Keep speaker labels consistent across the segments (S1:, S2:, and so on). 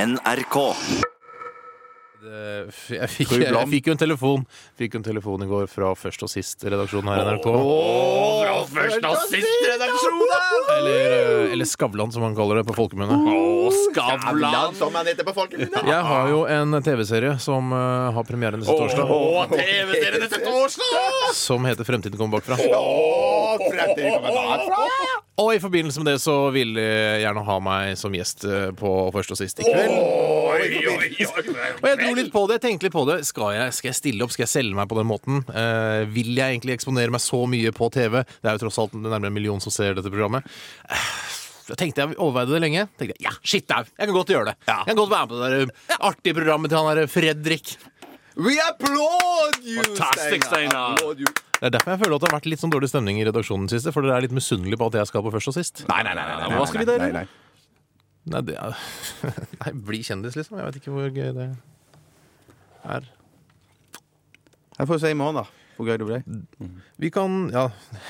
S1: NRK.
S2: Det- Eh, f- Jeg fikk,
S1: Skal vi bla
S2: jeg
S1: om?
S2: fikk jo en telefon Fikk jo en telefon i går fra først og sist redaksjonen her i NRK.
S1: fra først og sist redaksjonen!
S2: Eller, eh, eller Skavlan, som man kaller det på folkemunne.
S1: Skavlan!
S3: Som han heter på folkemunne.
S2: Jeg har jo en TV-serie som eh, har premiere neste torsdag,
S1: Åh, TV-serien dette torsdag!
S2: som heter 'Fremtiden kommer bakfra'.
S3: Å, fremtiden kommer bakfra.
S2: Og i forbindelse med det så vil jeg gjerne ha meg som gjest eh, på først og sist i kveld.
S1: Oi, oi, oi.
S2: Og jeg dro litt på det, jeg tenkte litt på det. Skal jeg, skal jeg stille opp? Skal jeg selge meg på den måten? Eh, vil jeg egentlig eksponere meg så mye på TV? Det er jo tross alt nærmere en million som ser dette programmet. Eh, Da tenkte jeg overveide det lenge. Tenkte jeg, ja, shit au, jeg kan godt gjøre det. Jeg kan godt være med på det der eh, artige programmet til han der eh, Fredrik.
S3: We applaud you,
S1: Fantastic, Steinar.
S3: Applaud you.
S2: Det er derfor jeg føler at det har vært litt sånn dårlig stemning i redaksjonen siste, for dere er litt misunnelige på at jeg skal på først og sist.
S1: Nei, nei, nei, nei, nei.
S2: Hva skal vi
S3: Nei,
S2: dere?
S3: nei.
S2: Nei, det er... Nei, bli kjendis, liksom. Jeg vet ikke hvor gøy det er.
S3: Jeg får se i morgen, da. Hvor gøy det ble.
S2: Vi kan Ja,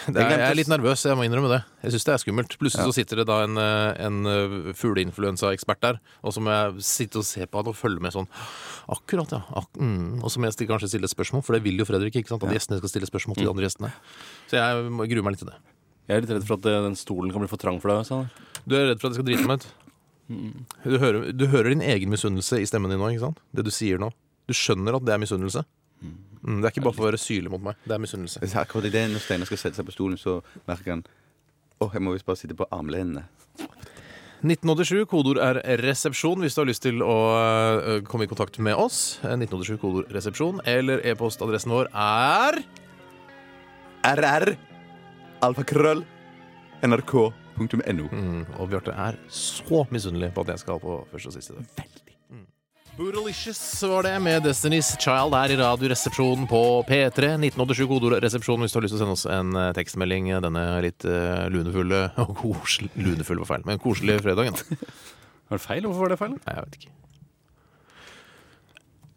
S2: det er, jeg er litt nervøs, jeg må innrømme det. Jeg syns det er skummelt. Plutselig så sitter det da en, eh, en eh, fugleinfluensaekspert der, og så må jeg sitte og se på han og følge med sånn Akkurat, ja. Ak mm. Og så må jeg stille- kanskje stille et spørsmål, for det vil jo Fredrik, ikke sant? At gjestene skal stille spørsmål til de andre gjestene. Så jeg må- gruer meg litt til det.
S4: Jeg er litt redd for at eh, den stolen kan bli for trang for deg. Sånn.
S2: Du er redd for at jeg skal drite meg ut? Mm. Du hører, du hører din egen misunnelse i stemmen din nå, ikke sant? Det du sier nå. Du skjønner at det er misunnelse. Mm, det er ikke bare for å være syrlig mot meg. Det er misunnelse.
S3: Det er Akkurat i det når Steinar skal sette seg på stolen, så merker han Åh, jeg må visst bare sitte på armlenene.
S2: 1987, kodeord er resepsjon hvis du har lyst til å ø, komme i kontakt med oss. 1987, kodeord resepsjon, eller e-postadressen vår er
S3: RR. Alfakrøll. NRK.no.
S4: Mm.
S2: Mm, Og Bjarte er så misunnelig på at jeg skal på først og sist i dag. Veldig. Bootylicious var det, med Destiny's Child her i Radioresepsjonen på P3. 1987 kodeord resepsjon hvis du har lyst til å sende oss en ø, tekstmelding eh, denne litt ø, lunefulle og kosel- Lunefull var feil, men koselige fredagen.
S4: Var det feil? Hvorfor var det feil?
S2: Nei, jeg vet ikke.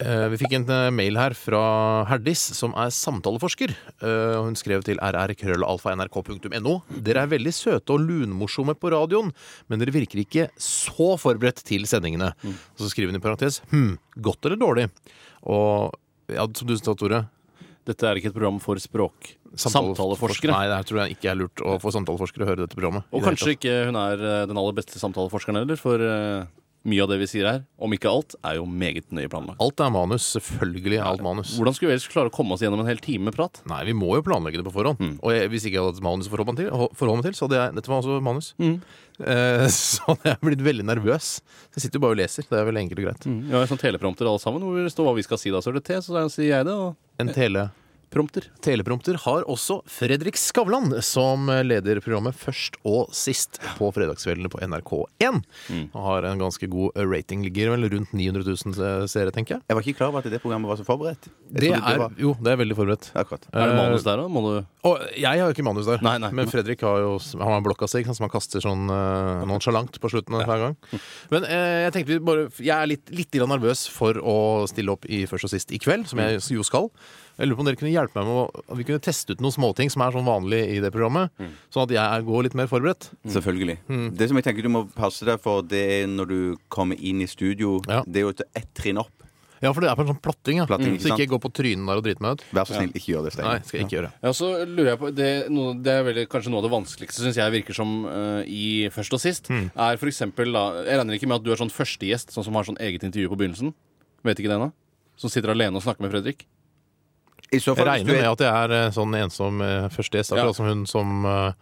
S2: Eh, Vi fikk en eh, mail her fra Herdis, som er samtaleforsker. Eh, Hun skrev til rrkrøllalfa.nrk.no. Dere er veldig søte og lunmorsomme på radioen, men dere virker ikke så forberedt til sendingene.
S4: Mm.
S2: Og så skriver hun i parentes hm, godt eller dårlig? Og ja, som du sa, Tore
S4: Dette er ikke et program for språk.
S2: samtaleforsker-
S4: Samtaleforskere.
S2: Nei, det her tror jeg ikke er lurt å få samtaleforskere å høre dette programmet.
S4: Og kanskje ikke hun er eh, den aller beste samtaleforskeren heller, for eh, mye av det vi sier her, om ikke alt, er jo meget nøye planlagt.
S2: Alt er manus. Selvfølgelig er alt manus.
S4: Hvordan skulle vi ellers klare å komme oss gjennom en hel time med prat?
S2: Nei, vi må jo planlegge det på forhånd. Og jeg, hvis ikke jeg hadde hatt et manus å forholde meg til, forholde meg til så hadde jeg Dette var også manus. Eh, så hadde jeg blitt veldig nervøs. Jeg sitter jo bare og leser. Det er vel enkelt og greit.
S4: Vi har jo sånn teleprompter alle sammen, hvor det står hva vi skal si. Da så er det T, så sier jeg det, og
S2: En tele,
S4: prompter.
S2: teleprompter har også Fredrik Skavlan, som leder programmet Først og sist på fredagskveldene på NRK1. Og har en ganske god rating. Ligger vel rundt 900 000 eh, seere, tenker jeg.
S3: Jeg var ikke klar over at det programmet var så forberedt. Jeg
S2: Det
S3: trodde
S2: er,
S3: var-
S2: jo, det er veldig forberedt.
S3: Akkurat.
S4: Er
S2: Eh,
S4: det manus der, da? Må du
S2: Og jeg har jo ikke manus der,
S4: Nei, nei.
S2: men Fredrik har jo Han har blokka si, ikke sant, som han kaster sånn uh, nonsjalant på slutten av hver gang. Men eh, jeg tenkte vi bare Jeg er litt, litt grann nervøs for å stille opp i Først og sist i kveld, som jeg jo skal. Jeg lurer på om dere kunne hjelpe meg med å, at vi kunne teste ut noen småting som er sånn vanlig i det programmet,
S4: Mm.
S2: sånn at jeg går litt mer forberedt.
S3: Selvfølgelig. Det som jeg tenker du må passe deg for, det er når du kommer inn i studio,
S2: Ja.
S3: det er jo å ta ett trinn opp.
S2: Ja, for det er på en sånn platting, ja.
S3: Platting, ikke
S2: så ikke
S3: sant?
S2: jeg går på trynet der og driter meg ut.
S3: Vær så snill, ikke gjør det,
S2: Nei,
S3: Steinar.
S2: skal jeg ikke gjøre.
S4: Ja, så lurer jeg på Det, noe, det er veldig, kanskje noe av det vanskeligste, syns jeg virker som eh, i Først og sist.
S2: Mm.
S4: Er for eksempel, da Jeg regner ikke med at du er sånn førstegjest, sånn som har sånn eget intervju på begynnelsen. Vet ikke det ennå? Som sitter alene og snakker med Fredrik.
S3: I så
S2: Jeg
S3: fall, hvis du
S2: regner med
S3: er
S2: at jeg er eh, sånn ensom eh, første gjest, akkurat
S4: Ja.
S2: som hun som eh,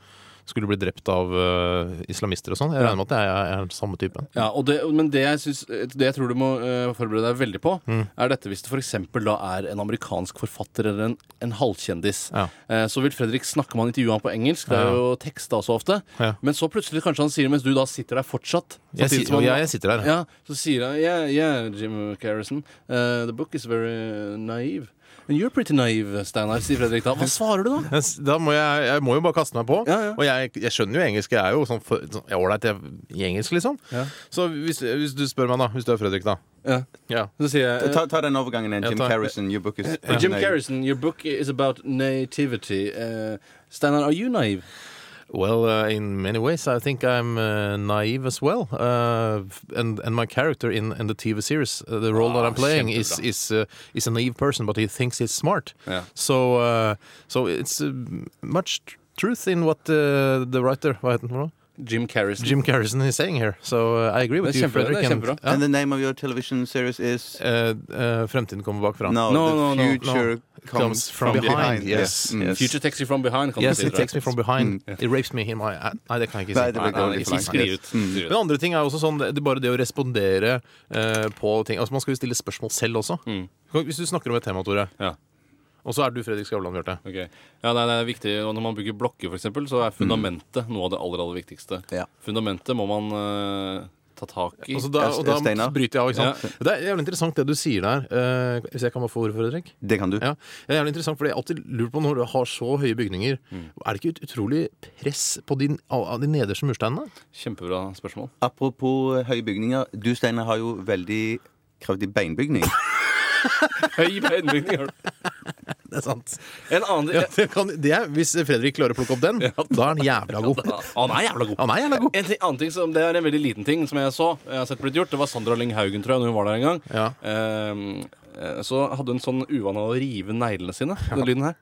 S2: skulle bli drept av eh, islamister og sånn. Jeg regner med at jeg er, jeg er samme typen.
S4: Ja, og det, Men det jeg, synes, det jeg tror du må eh, forberede deg veldig på,
S2: Mm.
S4: er dette hvis det f.eks. da er en amerikansk forfatter eller en, en halvkjendis.
S2: Ja.
S4: Eh, så vil Fredrik snakke med han intervjue han på engelsk. Det er jo teksta så ofte.
S2: Ja.
S4: Men så plutselig kanskje han sier mens du da sitter der fortsatt
S2: Jeg,
S4: samtidig
S2: si-
S4: som
S2: og
S4: han-
S2: jeg, jeg sitter der.
S4: Ja, så sier han Yeah, yeah, Jim Carrison eh, The book is very uh, naive And you're pretty naive, Steinar, sier Fredrik da Hva svarer du da?
S2: Jeg s- Da må jeg, jeg må jo bare kaste meg på.
S4: Ja, ja.
S2: Og jeg, jeg skjønner jo engelsk. Jeg er jo sånn for- sånn ålreit jeg- i engelsk, liksom. Så hvis, hvis du spør meg, da. Hvis du er Fredrik, da.
S4: Ja.
S2: Ja.
S4: Så sier jeg "Uh, eh,
S3: Ta, ta den overgangen igjen.
S2: Jeg
S3: Jim
S2: tar-
S3: Carrison, your book is
S4: Jim Carrison, your book is about nativity Eh, Steinar, are Uh, you naive?
S2: Well, uh, in many ways, I think I'm uh, naive as well. Uh, and and my character in, in the TV series, uh, the role that I'm playing, is
S4: Ah, kjempebra.
S2: is uh, is a naive person, but he thinks he's smart.
S4: Ja.
S2: So uh, so it's uh, much tr- truth in what uh, the writer hva heter han for noe?
S4: Jim Carrison.
S2: Jim Carrison is saying here. So uh, I agree with
S4: Det er
S2: you,
S4: kjempebra, det er
S2: Fredrik. and-
S4: kjempebra.
S2: ja.
S3: And the name of your television series is
S2: Uh, uh, fremtiden kommer bakfra.
S3: No,
S4: No,
S3: the
S4: no, no.
S3: future
S2: No.
S3: Comes, from, behind. Yes.
S2: Mm.
S3: yes.
S4: Future takes you from behind, kan
S2: Yes,
S4: du si.
S2: it takes me from behind. It rapes me in my uh, Nei, det kan jeg ikke si.
S3: Nei, det blir
S2: Nei, nei,
S3: litt
S2: ikke
S3: for
S2: si.
S3: langt.
S4: Mm.
S2: Men andre ting er også sånn, det det er bare det å respondere eh, på ting Altså Man skal jo stille spørsmål selv også. Kan- Hvis du snakker om et tema, Tore,
S4: Ja.
S2: og så er du Fredrik Skavlan, Bjarte.
S4: Ok. Ja, nei, det er viktig. Og når man bygger blokker, for eksempel,
S2: Mm.
S4: så er fundamentet noe av det aller, aller viktigste.
S3: Ja.
S4: Fundamentet må man eh, ta tak i.
S2: Altså, da, og da
S3: Steinar.
S2: bryter jeg av. ikke sant? Det er jævlig interessant det du sier der. Eh, hvis jeg kan bare få ordet, Fredrik?
S3: Det kan du.
S2: Ja, det er jævlig interessant, for jeg har alltid lurt på når du har så høye bygninger, er det ikke ut- utrolig press på din, av av de nederste mursteinene?
S4: Kjempebra spørsmål.
S3: Apropos eh, høye bygninger. Du, Steinar, har jo veldig kraftig beinbygning.
S4: Høy beinbygning, har du.
S2: Det er sant.
S4: En annen
S2: Ja, det kan, det er, hvis Fredrik klarer å plukke opp den, da er han jævla god.
S4: Han er jævla god.
S2: Han er jævla god.
S4: En ting, annen ting som, Det er en veldig liten ting som jeg så. Jeg har sett blitt gjort Det var Sandra Lyng Haugen, tror jeg, når hun var der en gang.
S2: Ja.
S4: Eh, eh, så hadde hun sånn uvane av å rive neglene sine. Den lyden her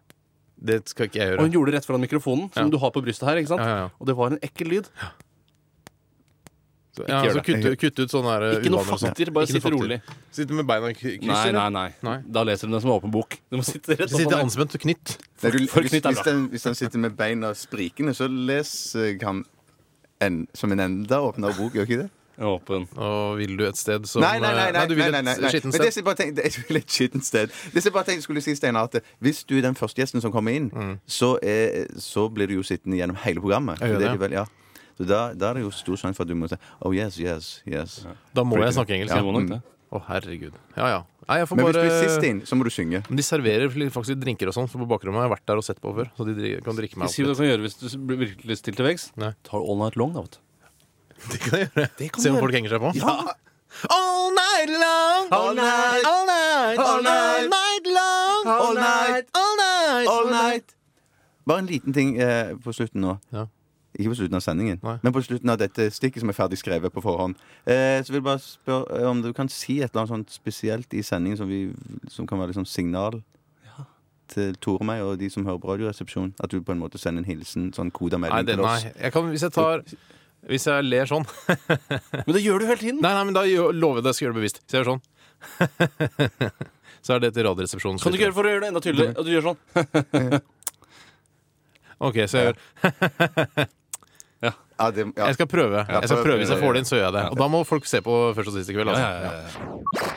S2: Det skal ikke jeg
S4: Og
S2: gjøre.
S4: hun gjorde det rett foran mikrofonen, som
S2: Ja.
S4: du har på brystet her. ikke sant?
S2: Ja, ja, ja.
S4: Og det var en ekkel lyd.
S2: Ja,
S4: gjør
S2: altså,
S4: det.
S2: kutte, kutte ut sånne her,
S4: Ikke noe
S2: uvaner og sånt.
S4: fakter, bare
S2: Ikke noe
S4: sitt
S2: fakter.
S4: rolig.
S2: Sitte med beina i k- kryss?
S4: Nei, nei,
S2: eller?
S4: nei,
S2: Nei.
S4: Da leser de den som åpen bok. Du må sitte rett
S2: Sitte
S4: opp
S2: anspent og knytt?
S3: Nei, du,
S4: Folk
S3: hvis,
S4: knytter
S3: hvis, den, hvis den sitter med beina sprikende, så leser han en, som en enda åpner bok, gjør ikke det?
S4: Åpen.
S2: Og vil du et sted som
S3: Nei, nei, nei.
S2: eh,
S3: nei,
S2: du vil
S3: nei, nei,
S2: et
S3: nei,
S2: skittent
S3: Men det
S2: sted?
S3: som jeg bare tenkte, jeg vil et skittent sted. Det som jeg bare tenkte skulle si, Steinar, at hvis du er den første gjesten som kommer inn, så, er, så blir du jo sittende gjennom hele
S2: Mm.
S3: programmet.
S2: Jeg gjør
S3: Det er
S2: det.
S3: vel- ja. Så da, da er det jo stor sjanse for at du må si Oh yes, yes, yes.
S2: Da må jeg snakke engelsk.
S4: Ja,
S2: ja.
S4: må nok det.
S2: Å, herregud. Ja, ja. Nei, jeg får
S3: Men hvis du
S2: bare
S3: er sist inn, så må du synge.
S2: Men De serverer litt- faktisk drinker og sånn, for på bakrommet har jeg vært der og sett på før. Så de dri- kan drikke meg
S4: Si hva
S2: opp.
S4: du kan gjøre hvis du blir virkelig stilt til veggs.
S2: Nei.
S4: Tar all night long, da, vet du.
S2: Det kan jeg gjøre.
S4: kan
S2: Se om
S4: du
S2: folk henger seg på.
S4: Ja.
S2: All night long,
S3: All night.
S2: all night,
S3: All night.
S2: night long,
S3: All night.
S2: all night.
S3: All night! Bare en liten ting eh, på slutten nå.
S2: Ja.
S3: Ikke på slutten av sendingen,
S2: Nei.
S3: men på slutten av dette stikket som er ferdig skrevet på forhånd. Eh, så vil jeg bare spørre eh, om du kan si et eller annet sånt spesielt i sendingen som, vi, som kan være liksom signal til Tore og meg og de som hører på Radioresepsjonen. At du på en måte sender en hilsen, sånn
S2: Nei,
S3: kodemelding
S2: det,
S3: til
S2: nei.
S3: oss.
S2: Jeg kan, hvis jeg tar Hvis jeg ler sånn
S4: Men det gjør du hele tiden.
S2: Nei, nei, men da gjør- lover jeg deg at jeg skal gjøre det bevisst. Så jeg gjør sånn. så er det til Radioresepsjonen.
S4: Kan du ikke gjøre det for å gjøre det enda tydeligere? At du gjør sånn.
S2: Ok, så jeg, gjør,
S3: Ja, det, ja.
S2: jeg skal prøve. Jeg skal prøve Hvis jeg får det inn, så gjør jeg det. Og da må folk se på først og sist i kveld. Altså.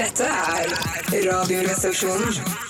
S5: Dette er Radioresepsjonen.